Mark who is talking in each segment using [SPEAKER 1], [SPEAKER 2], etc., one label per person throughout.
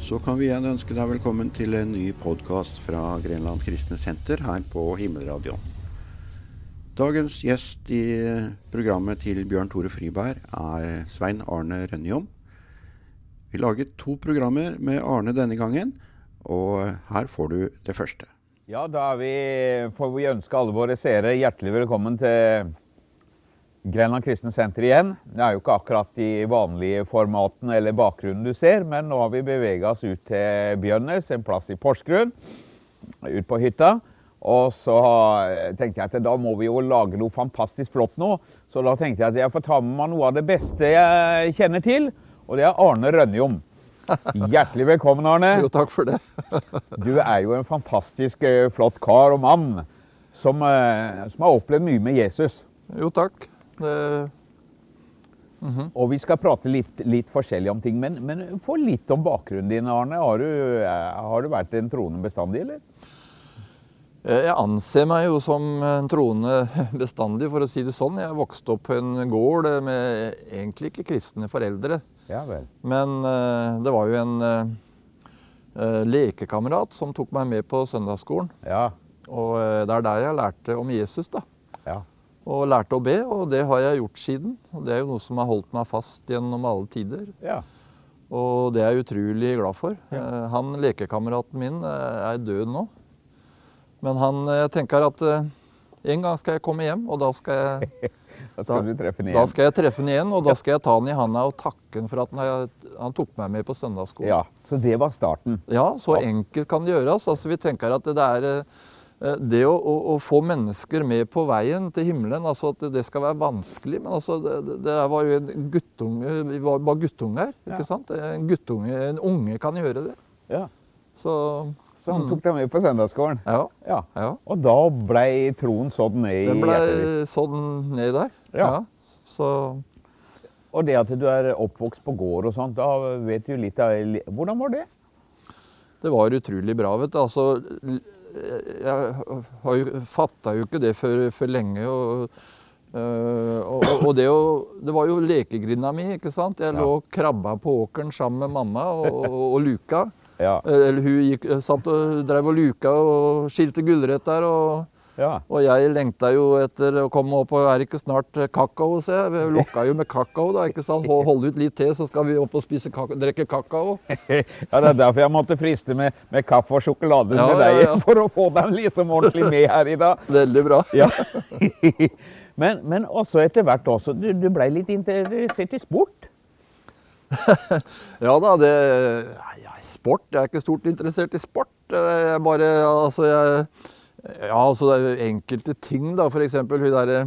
[SPEAKER 1] Så kan vi igjen ønske deg velkommen til en ny podkast fra Grenland Kristne Senter her på Himmelradioen. Dagens gjest i programmet til Bjørn Tore Friberg er Svein Arne Rønjom. Vi laget to programmer med Arne denne gangen, og her får du det første.
[SPEAKER 2] Ja, da er vi, får vi ønske alle våre seere hjertelig velkommen til Grenland Kristne Senter igjen. Det er jo ikke akkurat de vanlige formatene eller bakgrunnen du ser, men nå har vi bevega oss ut til Bjørnes, en plass i Porsgrunn, ut på hytta. Og så tenkte jeg at da må vi jo lage noe fantastisk flott nå. Så da tenkte jeg at jeg får ta med meg noe av det beste jeg kjenner til, og det er Arne Rønnjom. Hjertelig velkommen, Arne.
[SPEAKER 3] Jo, takk for det.
[SPEAKER 2] Du er jo en fantastisk eh, flott kar og mann som, eh, som har opplevd mye med Jesus.
[SPEAKER 3] Jo, takk. Det,
[SPEAKER 2] Og vi skal prate litt, litt forskjellig om ting, men, men få litt om bakgrunnen din, Arne. Har du, eh, har du vært en troende bestandig, eller?
[SPEAKER 3] jeg anser meg jo som en troende bestandig, for å si det sånn. Jeg vokste opp på en gård med egentlig ikke kristne foreldre.
[SPEAKER 2] Ja vel.
[SPEAKER 3] Men eh, det var jo en eh, eh, lekekamerat som tok meg med på søndagsskolen.
[SPEAKER 2] Ja.
[SPEAKER 3] Og eh, det er der jeg lærte om Jesus, da.
[SPEAKER 2] ja.
[SPEAKER 3] Og lærte å be, og det har jeg gjort siden. Og det er jo noe som har holdt meg fast gjennom alle tider.
[SPEAKER 2] ja.
[SPEAKER 3] Og det er jeg utrolig glad for. Eh, Han lekekameraten min eh, er død nå. Men han eh, tenker at eh, en gang skal jeg komme hjem, og da skal jeg,
[SPEAKER 2] Da skal du treffe den
[SPEAKER 3] da
[SPEAKER 2] igjen.
[SPEAKER 3] skal jeg treffe han igjen. Og da skal jeg ta han i handa og takke han for at han, har- han tok meg med på søndagsskolen.
[SPEAKER 2] Ja, så det var starten.
[SPEAKER 3] Ja, så
[SPEAKER 2] Ja.
[SPEAKER 3] enkelt kan det gjøres. Altså, vi tenker at det, er eh, det å, å, å få mennesker med på veien til himmelen, altså at det, det skal være vanskelig. Men altså, det, det- det var jo en guttunge, vi var bare guttunger,
[SPEAKER 2] Ja.
[SPEAKER 3] ikke sant? En guttunge, en unge kan gjøre det.
[SPEAKER 2] Ja. Mm.
[SPEAKER 3] Så,
[SPEAKER 2] Så han tok deg med på søndagsgården.
[SPEAKER 3] ja,
[SPEAKER 2] Ja.
[SPEAKER 3] ja.
[SPEAKER 2] Og da blei troen sådd ned i
[SPEAKER 3] Den ble
[SPEAKER 2] hjertet ditt.
[SPEAKER 3] sånn ned der.
[SPEAKER 2] Ja.
[SPEAKER 3] Så,
[SPEAKER 2] Og det at du er oppvokst på gård og sånt, da vet du litt av Hvordan var det?
[SPEAKER 3] det var utrolig bra, vet du. Altså, l- jeg har jo, fatta jo ikke det før, før lenge. og... øh, og, og og det, å, det var jo lekegrinda mi. ikke sant? Jeg
[SPEAKER 2] Ja.
[SPEAKER 3] lå og krabba på åkeren sammen med mamma og, og, og luka.
[SPEAKER 2] Ja.
[SPEAKER 3] Eller hun gikk, satt og drev og luka og skilte gulrøtter. Og,
[SPEAKER 2] ja.
[SPEAKER 3] Og jeg lengta jo etter å komme opp, og er ikke snart eh, kakao, se. Vi lokka jo med kakao, da. ikke sant? Hold- Hold ut litt til, så skal vi opp og spise kaka drikke kakao.
[SPEAKER 2] Ja, Det er derfor jeg måtte friste med, med kaffe og sjokolade
[SPEAKER 3] Ja,
[SPEAKER 2] med
[SPEAKER 3] ja,
[SPEAKER 2] deg.
[SPEAKER 3] ja.
[SPEAKER 2] For å få deg liksom ordentlig med her i dag.
[SPEAKER 3] Veldig bra.
[SPEAKER 2] Ja. Men, men også etter hvert også, du, du blei litt interessert i sport.
[SPEAKER 3] Ja da, det Nei, nei, Sport? Jeg er ikke stort interessert i sport. Jeg bare Altså, jeg Ja, altså, det er enkelte ting, da. For eksempel hun derre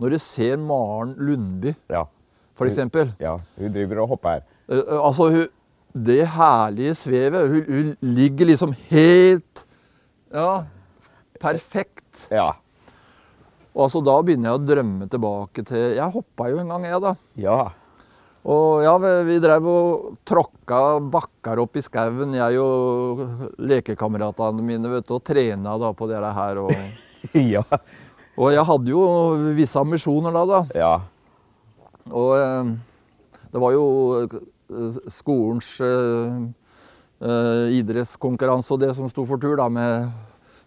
[SPEAKER 3] Når du ser Maren Lundby,
[SPEAKER 2] Ja.
[SPEAKER 3] for eksempel.
[SPEAKER 2] ja. Hun driver og hopper her.
[SPEAKER 3] Eh, eh, Altså, hun, det herlige svevet hun, hun ligger liksom helt Ja, perfekt.
[SPEAKER 2] Ja.
[SPEAKER 3] Og altså, da begynner jeg å drømme tilbake til Jeg hoppa jo en gang, jeg, da.
[SPEAKER 2] Ja.
[SPEAKER 3] Og ja, vi, vi drev og tråkka bakker opp i skauen, jeg og lekekameratene mine, vet du, og trena da på det her. Og,
[SPEAKER 2] Ja.
[SPEAKER 3] og jeg hadde jo visse ambisjoner da, da.
[SPEAKER 2] ja.
[SPEAKER 3] Og eh, det var jo eh, skolens eh, eh, idrettskonkurranse og det som sto for tur, da. Med,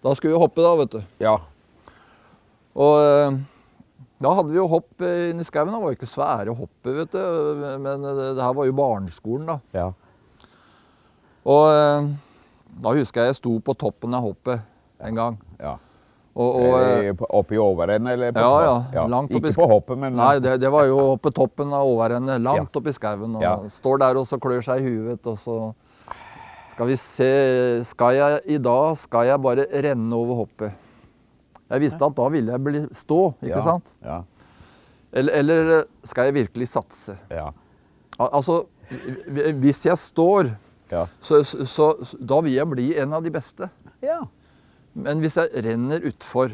[SPEAKER 3] da skulle vi hoppe, da, vet du.
[SPEAKER 2] ja.
[SPEAKER 3] Og eh, da hadde vi jo hopp eh, inni skauen. Det var jo ikke svære hoppet, vet du. Men eh, det, det her var jo barneskolen, da.
[SPEAKER 2] ja.
[SPEAKER 3] Og eh, da husker jeg jeg sto på toppen av hoppet en gang.
[SPEAKER 2] ja.
[SPEAKER 3] Og, og, eh,
[SPEAKER 2] Eh, på- Oppe i overenden, eller? på-
[SPEAKER 3] ja, ja, langt opp i
[SPEAKER 2] Ikke
[SPEAKER 3] sk-
[SPEAKER 2] på hoppet, men
[SPEAKER 3] Nei, det, det var jo oppe toppen av overrennet, langt
[SPEAKER 2] Ja.
[SPEAKER 3] opp i skauen. Og
[SPEAKER 2] Ja.
[SPEAKER 3] Står der og så klør seg i huet, og så Skal vi se Skal jeg i dag skal jeg bare renne over hoppet. Jeg visste at da ville jeg bli stå, ikke
[SPEAKER 2] ja.
[SPEAKER 3] sant?
[SPEAKER 2] Ja.
[SPEAKER 3] Eller, eller skal jeg virkelig satse?
[SPEAKER 2] Ja.
[SPEAKER 3] Al altså, hvis jeg står,
[SPEAKER 2] Ja.
[SPEAKER 3] så, så, så da vil jeg bli en av de beste.
[SPEAKER 2] ja.
[SPEAKER 3] Men hvis jeg renner utfor,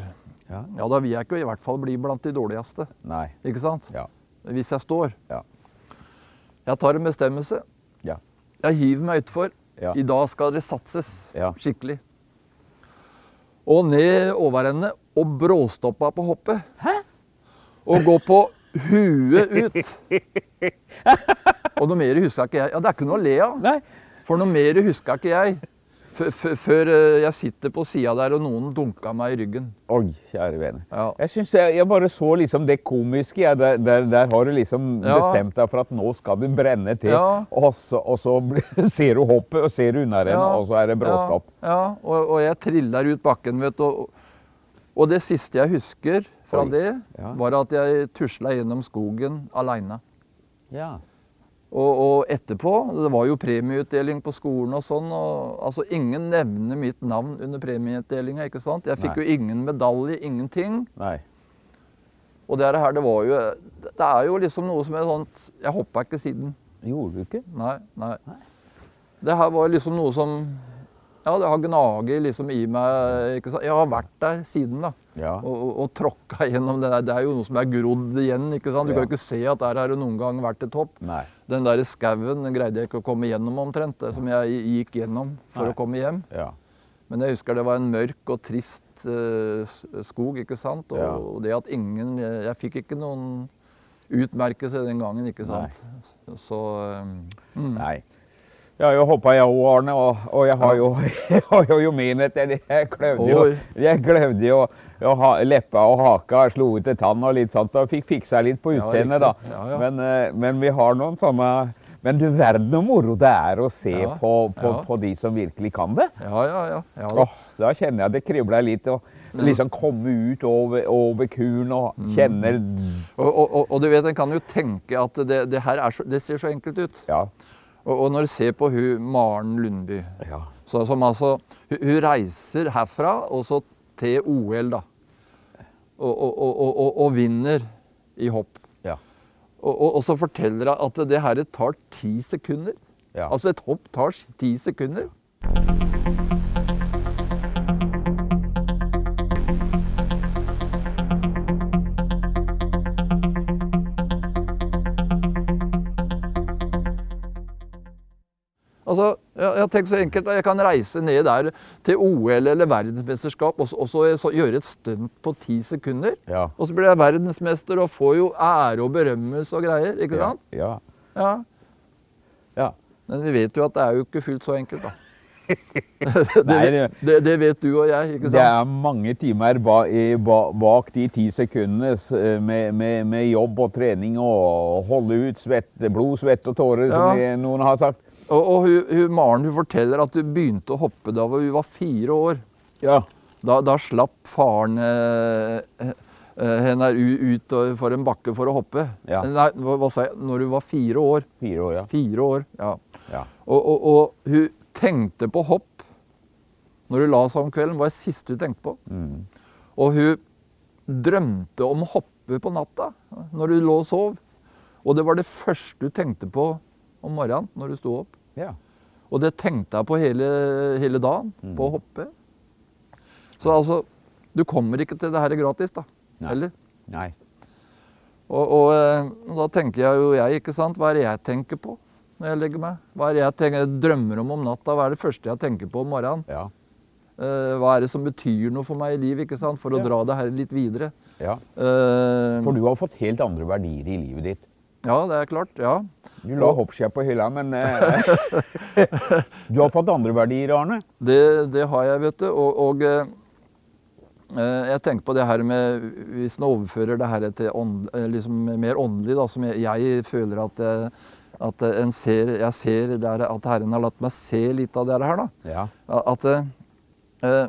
[SPEAKER 2] ja.
[SPEAKER 3] ja, da vil jeg ikke i hvert fall bli blant de dårligste.
[SPEAKER 2] Nei.
[SPEAKER 3] Ikke sant?
[SPEAKER 2] Ja.
[SPEAKER 3] Hvis jeg står.
[SPEAKER 2] Ja.
[SPEAKER 3] Jeg tar en bestemmelse.
[SPEAKER 2] Ja.
[SPEAKER 3] Jeg hiver meg utfor.
[SPEAKER 2] Ja.
[SPEAKER 3] I dag skal det satses
[SPEAKER 2] Ja.
[SPEAKER 3] skikkelig. Og ned overrennet og bråstoppa på hoppet. Og gå på huet ut. Og noe mer husker jeg ikke jeg. Ja, det er ikke noe å le av.
[SPEAKER 2] Nei.
[SPEAKER 3] For noe mer huska ikke jeg. Før- før- Før eh, jeg sitter på sida der og noen dunka meg i ryggen.
[SPEAKER 2] Oi, kjære vene.
[SPEAKER 3] Ja.
[SPEAKER 2] Jeg synes jeg, jeg bare så liksom det komiske. Jeg, der, der, der har du liksom
[SPEAKER 3] Ja.
[SPEAKER 2] bestemt deg for at nå skal du brenne til.
[SPEAKER 3] Ja.
[SPEAKER 2] Og, så, og så blir- ser du hoppet og ser unnarennet,
[SPEAKER 3] Ja,
[SPEAKER 2] og så er det bråstopp.
[SPEAKER 3] Ja, ja. Og, og jeg triller ut bakken, vet du. Og, og det siste jeg husker fra
[SPEAKER 2] Oi.
[SPEAKER 3] det,
[SPEAKER 2] Ja.
[SPEAKER 3] var at jeg tusla gjennom skogen aleine.
[SPEAKER 2] Ja.
[SPEAKER 3] Og, og etterpå, det var jo premieutdeling på skolen og sånn, og altså ingen nevner mitt navn under premieutdelinga, ikke sant? Jeg
[SPEAKER 2] Nei.
[SPEAKER 3] fikk jo ingen medalje, ingenting.
[SPEAKER 2] Nei.
[SPEAKER 3] Og det her, det var jo Det er jo liksom noe som er sånt Jeg hoppa ikke siden.
[SPEAKER 2] Gjorde du ikke?
[SPEAKER 3] Nei, nei. Det her var liksom noe som Ja, det har gnaget liksom i meg. ikke sant? Jeg har vært der siden, da.
[SPEAKER 2] Ja.
[SPEAKER 3] Og, og, og tråkka gjennom det der. Det er jo noe som er grodd igjen. ikke sant? Du
[SPEAKER 2] Ja.
[SPEAKER 3] kan jo ikke se at der har det noen gang vært til topp.
[SPEAKER 2] Nei.
[SPEAKER 3] Den der skauen den greide jeg ikke å komme gjennom omtrent, det som jeg gikk gjennom for
[SPEAKER 2] Nei.
[SPEAKER 3] å komme hjem.
[SPEAKER 2] Ja.
[SPEAKER 3] Men jeg husker det var en mørk og trist eh, s- skog, ikke sant? Og,
[SPEAKER 2] Ja.
[SPEAKER 3] og det at ingen Jeg, jeg fikk ikke noen utmerkelse den gangen, ikke
[SPEAKER 2] Nei.
[SPEAKER 3] sant? Så eh, mm.
[SPEAKER 2] Nei. Jeg har jo hoppa jeg òg, Arne, og, og jeg har jo, jeg har jo min etter det. Jeg kløvde jo,
[SPEAKER 3] Oi.
[SPEAKER 2] jeg kløvde jo og ha, leppa og haka, slo ut en tann og litt sånt, og fikk fiksa litt på
[SPEAKER 3] Ja,
[SPEAKER 2] utseendet, da.
[SPEAKER 3] riktig. Ja, ja.
[SPEAKER 2] Men, eh, men vi har noen sånne Men du verden hvor moro det er å se
[SPEAKER 3] Ja,
[SPEAKER 2] på, på,
[SPEAKER 3] ja.
[SPEAKER 2] på de som virkelig kan det.
[SPEAKER 3] Ja, ja, ja. ja da.
[SPEAKER 2] Åh, da kjenner jeg det kribler litt. å
[SPEAKER 3] Mm.
[SPEAKER 2] liksom komme ut over, over kuren og kjenner
[SPEAKER 3] Og, og, og, og du vet, en kan jo tenke at det, det her er så, det ser så enkelt ut.
[SPEAKER 2] Ja.
[SPEAKER 3] Og, og når du ser på hun Maren Lundby
[SPEAKER 2] ja.
[SPEAKER 3] så, Som altså hun, hun reiser herfra og så til OL, da. Og, og, og, og, og, og vinner i hopp.
[SPEAKER 2] ja.
[SPEAKER 3] Og, og, og så forteller hun at det her tar ti sekunder.
[SPEAKER 2] Ja.
[SPEAKER 3] Altså et hopp tar ti sekunder. Altså, jeg, jeg tenker så enkelt at jeg kan reise ned der til OL eller verdensmesterskap og, så- og så, så gjøre et stunt på ti sekunder.
[SPEAKER 2] Ja.
[SPEAKER 3] Og så blir jeg verdensmester og får jo ære og berømmelse og greier. ikke sant?
[SPEAKER 2] Ja.
[SPEAKER 3] Ja.
[SPEAKER 2] ja.
[SPEAKER 3] Men vi vet jo at det er jo ikke fullt så enkelt, da.
[SPEAKER 2] Nei,
[SPEAKER 3] det,
[SPEAKER 2] det-
[SPEAKER 3] det, det vet du og jeg, ikke
[SPEAKER 2] Det
[SPEAKER 3] sant?
[SPEAKER 2] er mange timer ba, i, ba, bak de ti sekundene s- eh, med, med, med jobb og trening og holde ut svett, blod, svett og tårer, som
[SPEAKER 3] Ja.
[SPEAKER 2] noen har sagt.
[SPEAKER 3] Og, og hun, hun, Maren hun forteller at hun begynte å hoppe da hun var fire år.
[SPEAKER 2] Ja.
[SPEAKER 3] Da, da slapp faren eh, eh, henne u- ut og- for en bakke for å hoppe.
[SPEAKER 2] Ja.
[SPEAKER 3] Nei, hva, hva sa jeg? Når hun var fire år.
[SPEAKER 2] Fire år, ja.
[SPEAKER 3] Fire år, ja.
[SPEAKER 2] ja.
[SPEAKER 3] Og, og, og hun tenkte på hopp når hun la seg om kvelden. var det siste hun tenkte på.
[SPEAKER 2] Mm.
[SPEAKER 3] Og hun drømte om å hoppe på natta når hun lå og sov. Og det var det første hun tenkte på om morgenen når hun sto opp.
[SPEAKER 2] ja.
[SPEAKER 3] Og det tenkte jeg på hele, hele dagen,
[SPEAKER 2] Mm.
[SPEAKER 3] på å hoppe. Så altså, du kommer ikke til det her gratis, da.
[SPEAKER 2] Nei.
[SPEAKER 3] Eller?
[SPEAKER 2] Nei.
[SPEAKER 3] Og, og eh, og da tenker jeg jo jeg, ikke sant, hva er det jeg tenker på når jeg legger meg? Hva er det jeg tenker, jeg drømmer om om natta? Hva er det første jeg tenker på om morgenen?
[SPEAKER 2] Ja.
[SPEAKER 3] Eh, hva er det som betyr noe for meg i livet, ikke sant, for å
[SPEAKER 2] Ja.
[SPEAKER 3] dra det her litt videre?
[SPEAKER 2] ja.
[SPEAKER 3] Eh,
[SPEAKER 2] For du har fått helt andre verdier i livet ditt.
[SPEAKER 3] Ja, det er klart, ja.
[SPEAKER 2] Du la hoppskia på hylla, men eh, Du har fått andre verdier, Arne.
[SPEAKER 3] Det, det har jeg, vet du. Og, og eh, eh, jeg tenker på det her med Hvis en overfører det her til ånd, eh, liksom mer åndelig, da, som jeg, jeg føler at, jeg, at en ser, jeg ser det her, at Herren har latt meg se litt av det her, da.
[SPEAKER 2] Ja.
[SPEAKER 3] At eh, eh,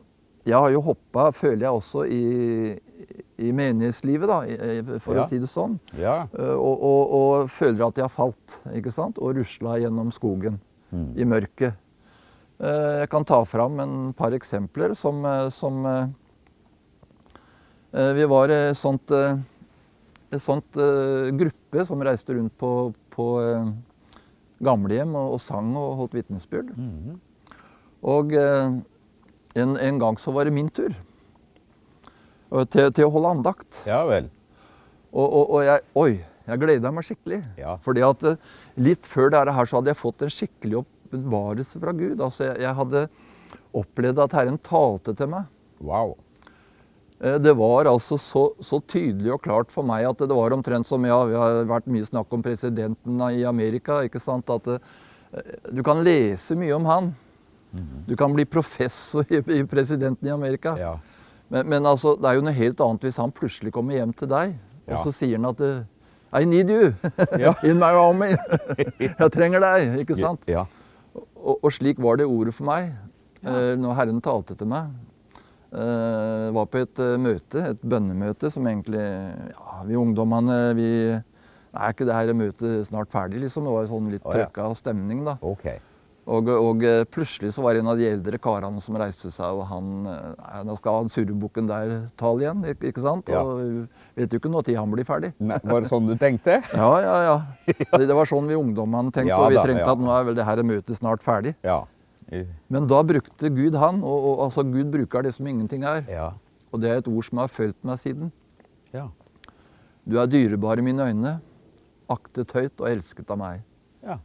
[SPEAKER 3] Jeg har jo hoppa, føler jeg også, i, i menighetslivet, da, i- i- for
[SPEAKER 2] Ja.
[SPEAKER 3] å si det sånn.
[SPEAKER 2] Ja.
[SPEAKER 3] Eh, Og, og, og føler at jeg har falt, ikke sant? Og rusla gjennom skogen
[SPEAKER 2] Mm.
[SPEAKER 3] i mørket. Eh, Jeg kan ta fram en par eksempler som, eh, som eh, eh, Vi var eh, sånt, eh, et sånt eh, gruppe som reiste rundt på, på eh, gamlehjem og, og sang og holdt vitnesbyrd.
[SPEAKER 2] Mhm.
[SPEAKER 3] Og eh, en, en gang så var det min tur eh, til, til å holde andakt.
[SPEAKER 2] ja vel.
[SPEAKER 3] Og, og, og jeg, oi, jeg gleda meg skikkelig.
[SPEAKER 2] Ja.
[SPEAKER 3] Fordi at eh, litt før dette her så hadde jeg fått en skikkelig oppbevarelse fra Gud. Altså, jeg, jeg hadde opplevd at Herren talte til meg.
[SPEAKER 2] Wow.
[SPEAKER 3] Eh, Det var altså så, så tydelig og klart for meg at det var omtrent som ja, vi har vært mye snakk om presidenten i Amerika. ikke sant? At eh, Du kan lese mye om han. Du kan bli professor i, i presidenten i Amerika.
[SPEAKER 2] Mhm. Ja.
[SPEAKER 3] Men, men altså, det er jo noe helt annet hvis han plutselig kommer hjem til deg,
[SPEAKER 2] Ja.
[SPEAKER 3] og så sier han at eh, I need you
[SPEAKER 2] Ja.
[SPEAKER 3] in my army. Jeg trenger deg, ikke sant?
[SPEAKER 2] Ja.
[SPEAKER 3] Og, og slik var det ordet for meg eh, når Herren talte til meg. Eh, var på et eh, møte, et bønnemøte, som egentlig Ja, vi ungdommene, vi Er ikke det her møtet snart ferdig, liksom? Det var jo sånn litt
[SPEAKER 2] Å, ja.
[SPEAKER 3] trøkka stemning, da.
[SPEAKER 2] Ok.
[SPEAKER 3] Og, og eh, plutselig så var det en av de eldre karene som reiste seg, og han eh, «Nei, Nå skal han surrebukken der tale igjen, ik- ikke sant?
[SPEAKER 2] Ja.
[SPEAKER 3] Og eh, vet jo ikke når tid han blir ferdig.
[SPEAKER 2] Men, var det sånn du tenkte?
[SPEAKER 3] Ja, ja, ja. Det, det var sånn vi ungdommene tenkte,
[SPEAKER 2] Ja
[SPEAKER 3] og vi
[SPEAKER 2] da,
[SPEAKER 3] trengte
[SPEAKER 2] ja.
[SPEAKER 3] at nå er vel det her møtet snart ferdig.
[SPEAKER 2] Ja.
[SPEAKER 3] Men da brukte Gud han, og, og altså Gud bruker det som ingenting er.
[SPEAKER 2] Ja.
[SPEAKER 3] Og det er et ord som har fulgt meg siden.
[SPEAKER 2] Ja.
[SPEAKER 3] Du er dyrebar i mine øyne, aktet høyt og elsket av meg.
[SPEAKER 2] ja.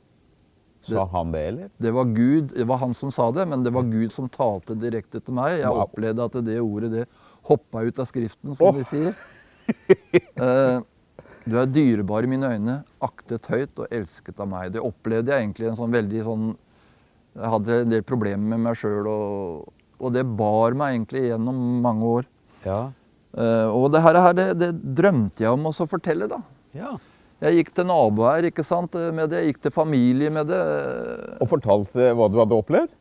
[SPEAKER 2] Sa han det, eller?
[SPEAKER 3] Det var Gud, det var han som sa det, men det var Gud som talte direkte til meg. Jeg
[SPEAKER 2] Mm. Wow.
[SPEAKER 3] opplevde at det ordet det hoppa ut av skriften, som
[SPEAKER 2] Åh.
[SPEAKER 3] de sier. Eh, du er dyrebar i mine øyne, aktet høyt og elsket av meg. Det opplevde jeg egentlig en sånn veldig sånn Jeg hadde en del problemer med meg sjøl, og, og det bar meg egentlig gjennom mange år.
[SPEAKER 2] Ja.
[SPEAKER 3] Eh, og det her, her det, det drømte jeg om også å fortelle, da.
[SPEAKER 2] ja.
[SPEAKER 3] Jeg gikk til naboer ikke sant, med det, jeg gikk til familie med det.
[SPEAKER 2] Og fortalte hva du hadde opplevd?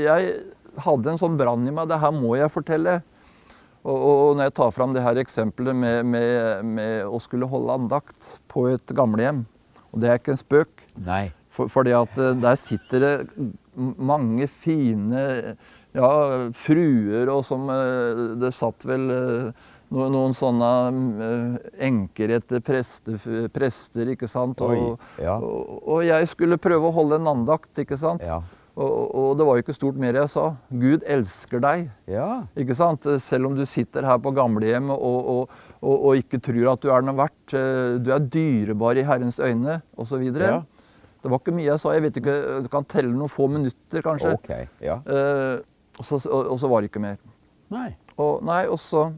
[SPEAKER 3] jeg hadde en sånn brann i meg. Det her må jeg fortelle. Og, og, og når jeg tar fram det her eksempelet med, med, med å skulle holde andakt på et gamlehjem Og det er ikke en spøk.
[SPEAKER 2] Nei.
[SPEAKER 3] For, fordi at eh, der sitter det m- mange fine ja, fruer, og som eh, Det satt vel eh, no- noen sånne eh, enker etter prester, prester, ikke sant? Og,
[SPEAKER 2] Oi, ja.
[SPEAKER 3] og, og jeg skulle prøve å holde en andakt, ikke sant?
[SPEAKER 2] Ja.
[SPEAKER 3] Og, og det var jo ikke stort mer jeg sa. Gud elsker deg.
[SPEAKER 2] Ja.
[SPEAKER 3] Ikke sant? Selv om du sitter her på gamlehjemmet og, og, og, og ikke tror at du er noe verdt. eh, Du er dyrebar i Herrens øyne, osv.
[SPEAKER 2] Ja.
[SPEAKER 3] Det var ikke mye jeg sa. Jeg vet ikke, Du kan telle noen få minutter, kanskje.
[SPEAKER 2] Ok. Ja.
[SPEAKER 3] Eh, og, så, og, og så var det ikke mer.
[SPEAKER 2] Nei.
[SPEAKER 3] Og, nei, og, så,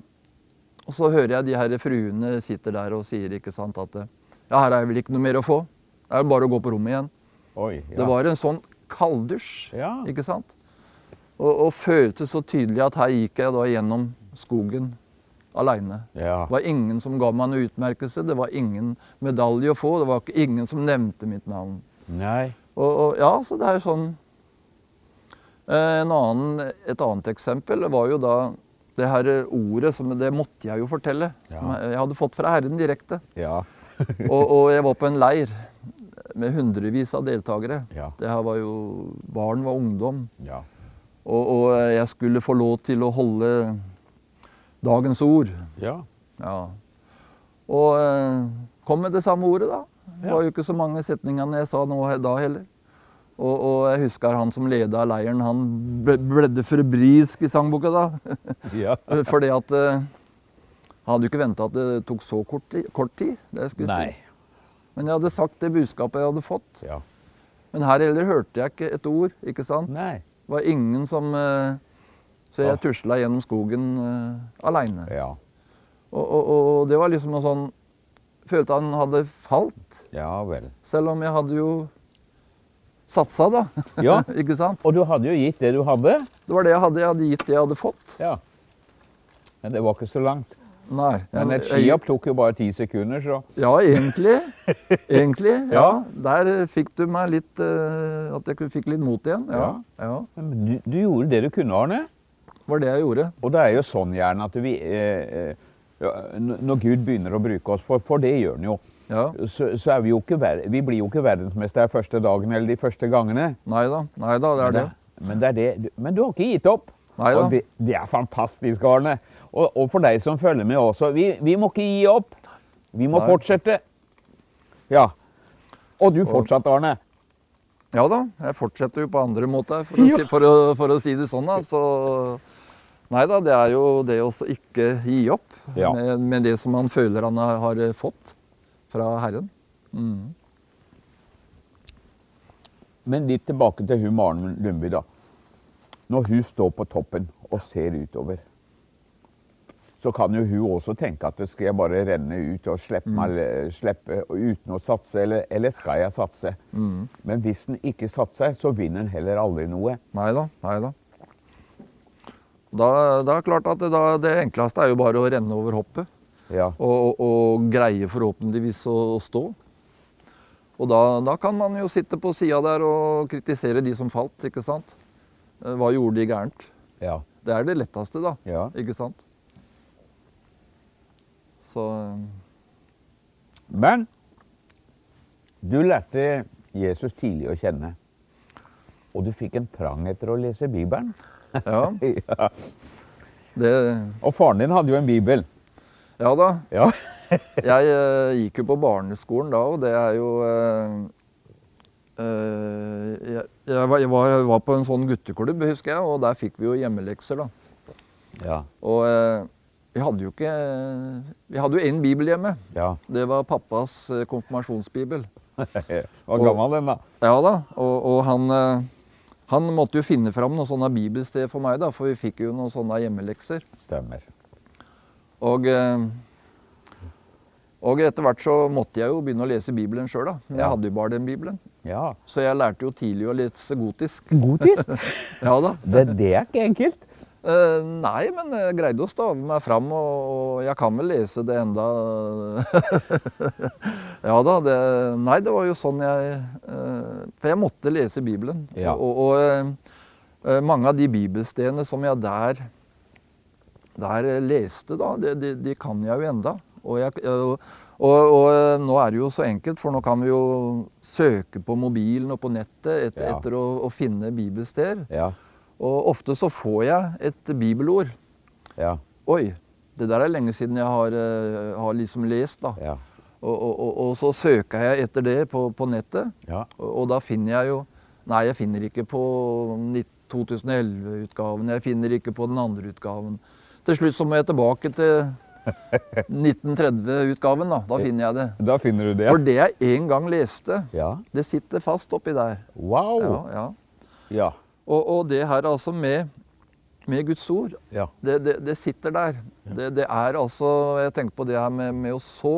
[SPEAKER 3] og så hører jeg de her fruene sitter der og sier ikke sant, at eh, ja, her er vel ikke noe mer å få. Det er bare å gå på rommet igjen.
[SPEAKER 2] Oi. Ja.
[SPEAKER 3] Det var en sånn kalddusj,
[SPEAKER 2] Ja.
[SPEAKER 3] ikke sant? Og, og følte så tydelig at her gikk jeg da gjennom skogen aleine.
[SPEAKER 2] ja.
[SPEAKER 3] Det var ingen som ga meg noen utmerkelse, det var ingen medalje å få, det var ikke- ingen som nevnte mitt navn.
[SPEAKER 2] Nei.
[SPEAKER 3] Og, og ja, så det er jo sånn Eh, en annen, Et annet eksempel var jo da det her ordet som Det måtte jeg jo fortelle.
[SPEAKER 2] Ja.
[SPEAKER 3] Som jeg jeg hadde fått fra Herren direkte.
[SPEAKER 2] Ja.
[SPEAKER 3] Og, og jeg var på en leir med hundrevis av deltakere.
[SPEAKER 2] Ja.
[SPEAKER 3] Det her var jo Barn var ungdom.
[SPEAKER 2] Ja.
[SPEAKER 3] Og, og jeg skulle få lov til å holde dagens ord.
[SPEAKER 2] Ja.
[SPEAKER 3] Ja. Og eh, kom med det samme ordet, da. Det
[SPEAKER 2] Ja.
[SPEAKER 3] var jo ikke så mange setningene jeg sa nå he- da heller. Og, og jeg husker han som leda leiren, han ble- bledde febrilsk i sangboka da.
[SPEAKER 2] Ja.
[SPEAKER 3] Fordi at eh, Han hadde jo ikke venta at det tok så kort tid. Kort tid det skulle
[SPEAKER 2] Nei.
[SPEAKER 3] jeg si. Men jeg hadde sagt det budskapet jeg hadde fått.
[SPEAKER 2] Ja.
[SPEAKER 3] Men her heller hørte jeg ikke et ord. ikke sant?
[SPEAKER 2] Nei.
[SPEAKER 3] Det var ingen som eh, Så
[SPEAKER 2] Ah.
[SPEAKER 3] jeg tusla gjennom skogen uh, aleine.
[SPEAKER 2] Ja.
[SPEAKER 3] Og, og, og det var liksom noe sånn Følte han hadde falt,
[SPEAKER 2] Ja vel.
[SPEAKER 3] selv om jeg hadde jo satsa, da.
[SPEAKER 2] Ja.
[SPEAKER 3] ikke sant?
[SPEAKER 2] Og du hadde jo gitt det du hadde.
[SPEAKER 3] Det var det jeg hadde. Jeg hadde gitt det jeg hadde fått.
[SPEAKER 2] Ja. Men det var ikke så langt.
[SPEAKER 3] Nei.
[SPEAKER 2] Men
[SPEAKER 3] jeg-
[SPEAKER 2] et skihopp tok jo bare ti sekunder, så
[SPEAKER 3] Ja, egentlig. Egentlig. ja.
[SPEAKER 2] Ja.
[SPEAKER 3] Der fikk du meg litt eh, At jeg kunne- fikk litt mot igjen. Ja. ja.
[SPEAKER 2] Men du, du gjorde det du kunne, Arne.
[SPEAKER 3] Det var det jeg gjorde.
[SPEAKER 2] Og det er jo sånn gjerne at vi eh, eh, ja, n- Når Gud begynner å bruke oss, for, for det gjør han jo,
[SPEAKER 3] Ja.
[SPEAKER 2] så, så er vi jo ikke ver Vi blir jo ikke verdensmester første dagen eller de første gangene.
[SPEAKER 3] Nei da. Nei da, det er det.
[SPEAKER 2] Men, det er det. du- Men du har ikke gitt opp.
[SPEAKER 3] Nei da.
[SPEAKER 2] Og det, det er fantastisk, Arne. Og, og for deg som følger med også. Vi, vi må ikke gi opp. Vi må
[SPEAKER 3] Nei.
[SPEAKER 2] fortsette. Ja. Og du fortsatte, Arne.
[SPEAKER 3] Ja da, jeg fortsetter jo på andre måter, for å, si, for å, for å si det sånn. da. Så, nei da, det er jo det å så ikke gi opp
[SPEAKER 2] Ja.
[SPEAKER 3] med, med det som han føler han har, har fått fra Herren. Mm.
[SPEAKER 2] Men litt tilbake til hun Maren Lundby, da. Når hun står på toppen og ser utover, så kan jo hun også tenke at skal jeg bare renne ut og slippe, meg, slippe uten å satse, eller, eller skal jeg satse?
[SPEAKER 3] Mm,
[SPEAKER 2] Men hvis en ikke satser, så vinner en heller aldri noe.
[SPEAKER 3] Nei da. Nei da. Da, da er det klart at det, da, det enkleste er jo bare å renne over hoppet.
[SPEAKER 2] Ja.
[SPEAKER 3] Og, og greie forhåpentligvis å, å stå. Og da, da kan man jo sitte på sida der og kritisere de som falt, ikke sant. Eh, Hva gjorde de gærent?
[SPEAKER 2] ja.
[SPEAKER 3] Det er det letteste, da.
[SPEAKER 2] Ja.
[SPEAKER 3] Ikke sant? Så
[SPEAKER 2] Men du lærte Jesus tidlig å kjenne. Og du fikk en trang etter å lese Bibelen.
[SPEAKER 3] ja.
[SPEAKER 2] Ja.
[SPEAKER 3] Det,
[SPEAKER 2] Og faren din hadde jo en bibel.
[SPEAKER 3] ja da.
[SPEAKER 2] Ja.
[SPEAKER 3] Jeg eh, gikk jo på barneskolen da, og det er jo eh, eh, jeg, jeg, var, jeg, var, jeg var på en sånn gutteklubb, husker jeg, og der fikk vi jo hjemmelekser, da.
[SPEAKER 2] Ja.
[SPEAKER 3] Og eh, vi hadde jo ikke Vi hadde jo én bibel hjemme.
[SPEAKER 2] ja.
[SPEAKER 3] Det var pappas eh, konfirmasjonsbibel.
[SPEAKER 2] Var gammel den, da.
[SPEAKER 3] Ja da, og, og han, eh, han måtte jo finne fram noe sånne bibelsted for meg, da, for vi fikk jo noen sånne hjemmelekser.
[SPEAKER 2] Stemmer.
[SPEAKER 3] Og, eh, og etter hvert så måtte jeg jo begynne å lese Bibelen sjøl, da. Men
[SPEAKER 2] Ja.
[SPEAKER 3] jeg hadde jo bare den Bibelen.
[SPEAKER 2] Ja.
[SPEAKER 3] Så jeg lærte jo tidlig å lese gotisk.
[SPEAKER 2] Godis?
[SPEAKER 3] Ja da.
[SPEAKER 2] Det, det er ikke enkelt.
[SPEAKER 3] Eh, nei, men jeg greide å stave meg fram, og, og jeg kan vel lese det enda. ja da, det Nei, det var jo sånn jeg eh, For jeg måtte lese Bibelen.
[SPEAKER 2] Ja.
[SPEAKER 3] Og, og eh, eh, mange av de bibelstedene som jeg der, der eh, leste, da, de, de, de kan jeg jo enda. Og, jeg, eh, og, og, og eh, nå er det jo så enkelt, for nå kan vi jo søke på mobilen og på nettet et,
[SPEAKER 2] Ja.
[SPEAKER 3] etter å, å finne bibelsteder.
[SPEAKER 2] Ja.
[SPEAKER 3] Og ofte så får jeg et bibelord.
[SPEAKER 2] Ja.
[SPEAKER 3] Oi, det der er lenge siden jeg har, eh, har liksom lest, da.
[SPEAKER 2] Ja.
[SPEAKER 3] Og, og, og, og så søker jeg etter det på, på nettet,
[SPEAKER 2] ja.
[SPEAKER 3] og, og da finner jeg jo Nei, jeg finner ikke på 2011-utgaven, jeg finner ikke på den andre utgaven. Til slutt så må jeg tilbake til 1930-utgaven, da. Da finner jeg det.
[SPEAKER 2] Da finner du det.
[SPEAKER 3] For det jeg en gang leste,
[SPEAKER 2] Ja.
[SPEAKER 3] det sitter fast oppi der. Ja,
[SPEAKER 2] Wow.
[SPEAKER 3] ja.
[SPEAKER 2] Ja.
[SPEAKER 3] Og, og det her altså med, med Guds ord,
[SPEAKER 2] Ja.
[SPEAKER 3] det, det, det sitter der. Det, det er altså Jeg tenker på det her med, med å så.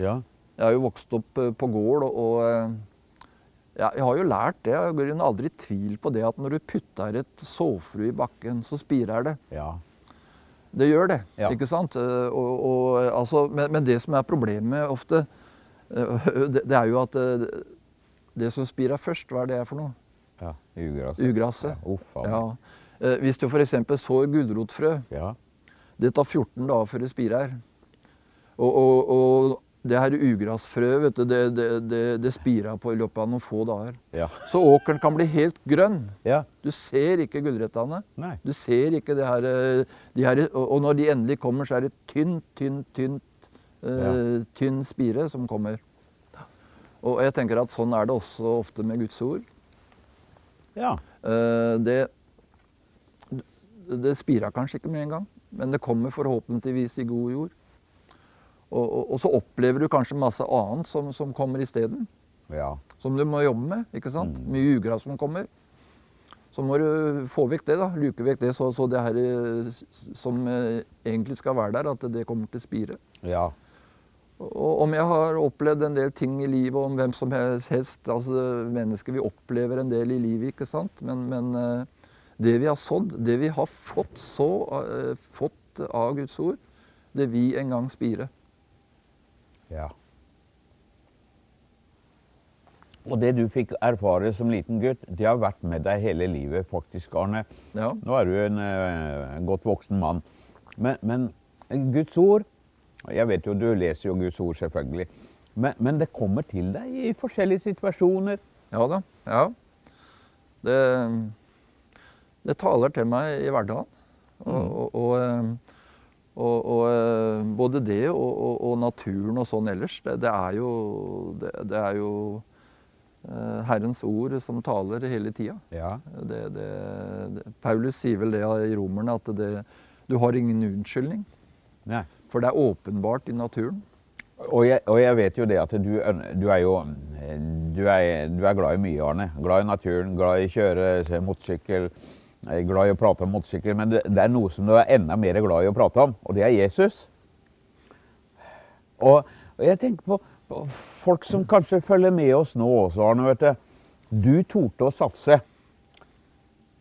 [SPEAKER 2] Ja.
[SPEAKER 3] Jeg er jo vokst opp eh, på gård, og, og eh, jeg, jeg har jo lært det. Jeg går inn aldri i tvil på det at når du putter et såfrø i bakken, så spirer det.
[SPEAKER 2] Ja.
[SPEAKER 3] Det gjør det,
[SPEAKER 2] Ja.
[SPEAKER 3] ikke sant? Eh, Og, og, eh, altså, men, men det som er problemet ofte, eh, det, det er jo at eh, det som spirer først, hva er det for noe?
[SPEAKER 2] ja. Ugress.
[SPEAKER 3] Ugrasset.
[SPEAKER 2] Ja. Uff a meg.
[SPEAKER 3] Ja. Eh, Hvis du f.eks. sår gulrotfrø,
[SPEAKER 2] Ja.
[SPEAKER 3] det tar 14 dager før det spirer. Og, og, og det her ugrasfrøet, vet du, det, det, det, det spirer på i løpet av noen få dager.
[SPEAKER 2] Ja.
[SPEAKER 3] Så åkeren kan bli helt grønn.
[SPEAKER 2] ja.
[SPEAKER 3] Du ser ikke gulrøttene.
[SPEAKER 2] Nei.
[SPEAKER 3] Du ser ikke det her, eh, de her og- Og når de endelig kommer, så er det tynt, tynt, tynt eh, tynn spire som kommer. Og jeg tenker at sånn er det også ofte med Guds ord.
[SPEAKER 2] Ja.
[SPEAKER 3] Eh, det, det spirer kanskje ikke med en gang, men det kommer forhåpentligvis i god jord. Og, og, og så opplever du kanskje masse annet som, som kommer isteden,
[SPEAKER 2] Ja.
[SPEAKER 3] som du må jobbe med. ikke sant? Mye ugress som kommer. Så må du få vekk det, da. luke vekk det, så, så det her eh, som eh, egentlig skal være der, at det kommer til å spire.
[SPEAKER 2] Ja.
[SPEAKER 3] Og om jeg har opplevd en del ting i livet, om hvem som helst altså Mennesker vi opplever en del i livet, ikke sant? Men, men eh, det vi har sådd, det vi har fått så eh, fått av Guds ord, det vi en gang spire.
[SPEAKER 2] Ja. Og det du fikk erfare som liten gutt, det har vært med deg hele livet, faktisk, Arne.
[SPEAKER 3] Ja.
[SPEAKER 2] Nå er du en eh, godt voksen mann. Men, men Guds ord Jeg vet jo, du leser jo Guds ord, selvfølgelig. Men, men det kommer til deg i forskjellige situasjoner.
[SPEAKER 3] Ja da. Ja. Det, det taler til meg i hverdagen. Og, og, og, eh, og, og eh, både det og, og, og naturen og sånn ellers, det, det er jo, det, det er jo eh, Herrens ord som taler hele tida.
[SPEAKER 2] Ja.
[SPEAKER 3] Det, det, det, Paulus sier vel det i Romerne at det, du har ingen unnskyldning,
[SPEAKER 2] Nei.
[SPEAKER 3] for det er åpenbart i naturen.
[SPEAKER 2] Og jeg, og jeg vet jo det at du, øn- du er jo eh, du er, du er glad i mye, Arne. Glad i naturen, glad i å kjøre se motorsykkel, Jeg er glad i å prate om motorsykler, men det, det er noe som du er enda mer glad i å prate om, og det er Jesus. Og, og jeg tenker på, på folk som kanskje følger med oss nå også, Arne. Vet du. du torde å satse.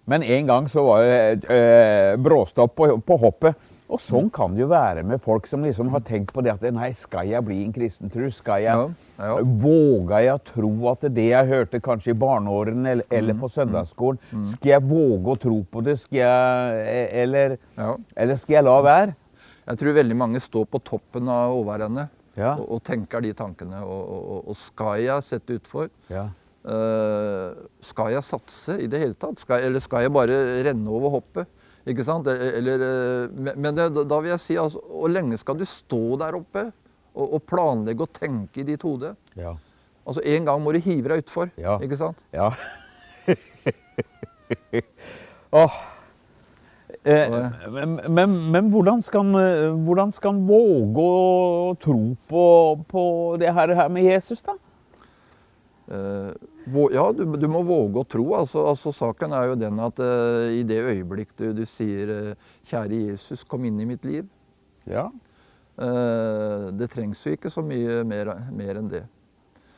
[SPEAKER 2] Men en gang så var det eh, bråstopp på, på hoppet. Og sånn kan det jo være med folk som liksom har tenkt på det at nei, skal jeg bli en kristen tru? Skal jeg
[SPEAKER 3] Ja, ja.
[SPEAKER 2] Våga jeg å tro at det jeg hørte kanskje i barneårene eller, eller
[SPEAKER 3] Mm,
[SPEAKER 2] på søndagsskolen Skal jeg våge å tro på det? Skal jeg, e- eller,
[SPEAKER 3] Ja.
[SPEAKER 2] eller skal jeg la være?
[SPEAKER 3] Jeg tror veldig mange står på toppen av åværende
[SPEAKER 2] Ja.
[SPEAKER 3] og, og tenker de tankene. Og, og, og- og skal jeg sette utfor?
[SPEAKER 2] Ja.
[SPEAKER 3] Eh, skal jeg satse i det hele tatt? Skal, eller skal jeg bare renne over hoppet? Ikke sant? Eller, eh, men- men det, da vil jeg si, altså, hvor lenge skal du stå der oppe og, og planlegge og tenke i ditt hode?
[SPEAKER 2] Ja.
[SPEAKER 3] Altså, En gang må du hive deg utfor.
[SPEAKER 2] Ja.
[SPEAKER 3] Ikke sant?
[SPEAKER 2] ja. Åh. Eh, men, men, men hvordan skal en hvordan skal en våge å tro på, på det her, her med Jesus, da?
[SPEAKER 3] Eh, vå- ja, du, du må våge å tro. Altså, altså Saken er jo den at eh, i det øyeblikk du, du sier eh, 'Kjære Jesus, kom inn i mitt liv',
[SPEAKER 2] Ja.
[SPEAKER 3] eh, det trengs jo ikke så mye mer, mer enn det.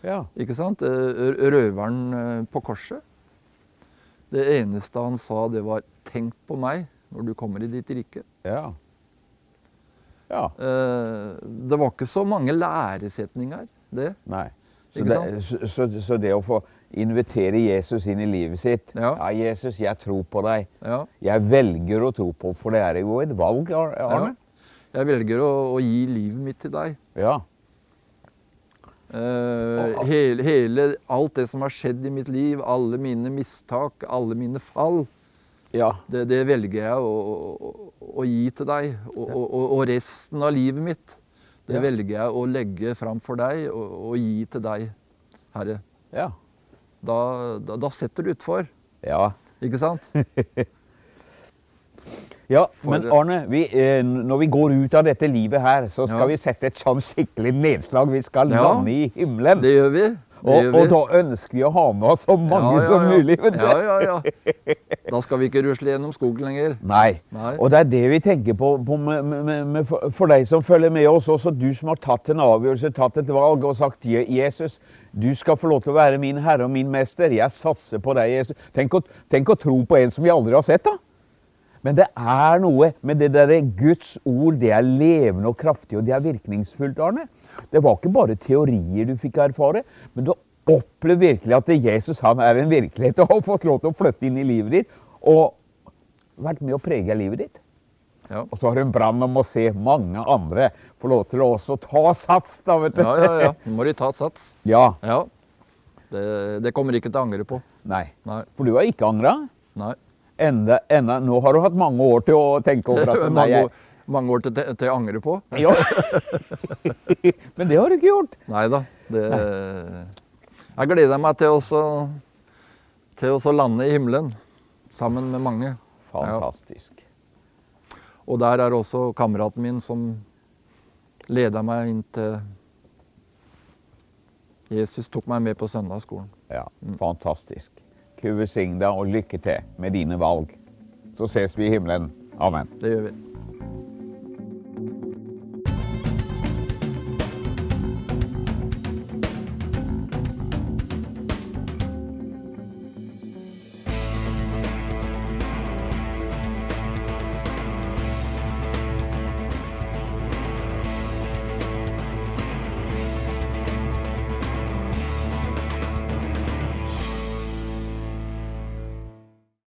[SPEAKER 2] ja.
[SPEAKER 3] Ikke sant? Eh, r- Røveren eh, på korset. Det eneste han sa, det var 'tenk på meg når du kommer i ditt rike'.
[SPEAKER 2] Ja. Ja.
[SPEAKER 3] Eh, Det var ikke så mange læresetninger, det.
[SPEAKER 2] Nei. Så
[SPEAKER 3] Ikke
[SPEAKER 2] det, så, så, så det å få invitere Jesus inn i livet sitt
[SPEAKER 3] Ja.
[SPEAKER 2] Jesus, jeg tror på deg.
[SPEAKER 3] Ja.
[SPEAKER 2] Jeg velger å tro på For det er jo et valg, Ar- Arne.
[SPEAKER 3] Jeg velger å, å gi livet mitt til deg.
[SPEAKER 2] Ja.
[SPEAKER 3] Eh, hele, hele, alt det som har skjedd i mitt liv, alle mine mistak, alle mine fall,
[SPEAKER 2] Ja.
[SPEAKER 3] det, det velger jeg å, å, å- å gi til deg. Og, og, og- og resten av livet mitt, det
[SPEAKER 2] Ja.
[SPEAKER 3] velger jeg å legge fram for deg og, og gi til deg, Herre.
[SPEAKER 2] Ja.
[SPEAKER 3] Da, da, da setter du utfor,
[SPEAKER 2] ja.
[SPEAKER 3] ikke sant?
[SPEAKER 2] ja
[SPEAKER 3] For-
[SPEAKER 2] men Arne, vi, eh, n- når vi går ut av dette livet her, så skal
[SPEAKER 3] Ja.
[SPEAKER 2] vi sette et sånn skikkelig nedslag. Vi skal
[SPEAKER 3] Ja.
[SPEAKER 2] lande i himmelen.
[SPEAKER 3] Det gjør vi. Det
[SPEAKER 2] og,
[SPEAKER 3] gjør
[SPEAKER 2] og
[SPEAKER 3] vi.
[SPEAKER 2] da ønsker vi å ha med oss så mange
[SPEAKER 3] Ja, ja,
[SPEAKER 2] som
[SPEAKER 3] ja.
[SPEAKER 2] mulig. vet du.
[SPEAKER 3] Ja, ja, ja. Da skal vi ikke rusle gjennom skogen lenger.
[SPEAKER 2] Nei.
[SPEAKER 3] Nei.
[SPEAKER 2] Og det er det vi tenker på, på med, med- med, med, for- for deg som følger med oss, også du som har tatt en avgjørelse, tatt et valg og sagt «Je- Jesus, du skal få lov til å være min herre og min mester. Jeg satser på deg, Jesus. Tenk å, tenk å tro på en som vi aldri har sett, da. Men det er noe med det derre Guds ord. Det er levende og kraftig, og det er virkningsfullt, Arne. Det var ikke bare teorier du fikk erfare, men du opplevde virkelig at Jesus han er en virkelighet og har fått lov til å flytte inn i livet ditt. og vært med å prege livet ditt.
[SPEAKER 3] Ja.
[SPEAKER 2] Og så har hun brann om å se mange andre få lov til å også ta sats, da, vet du.
[SPEAKER 3] Ja, ja, ja. Nå må de ta et sats.
[SPEAKER 2] Ja,
[SPEAKER 3] Ja. Det, det kommer de ikke til å angre på.
[SPEAKER 2] Nei.
[SPEAKER 3] Nei.
[SPEAKER 2] For du har ikke angra?
[SPEAKER 3] Nei.
[SPEAKER 2] Enda, enda, nå har du hatt mange år til å tenke over at nei,
[SPEAKER 3] mange,
[SPEAKER 2] jeg
[SPEAKER 3] år, mange år til, til å angre på.
[SPEAKER 2] ja. Men det har du ikke gjort.
[SPEAKER 3] Nei da. Det, jeg gleder meg til å så- til å så lande i himmelen sammen med mange. Ja.
[SPEAKER 2] Fantastisk.
[SPEAKER 3] Og der er også kameraten min som leda meg inn til Jesus tok meg med på søndagsskolen.
[SPEAKER 2] Ja,
[SPEAKER 3] Mm.
[SPEAKER 2] fantastisk. Gud velsigne deg, og lykke til med dine valg. Så ses vi i himmelen. Amen.
[SPEAKER 3] Det gjør vi.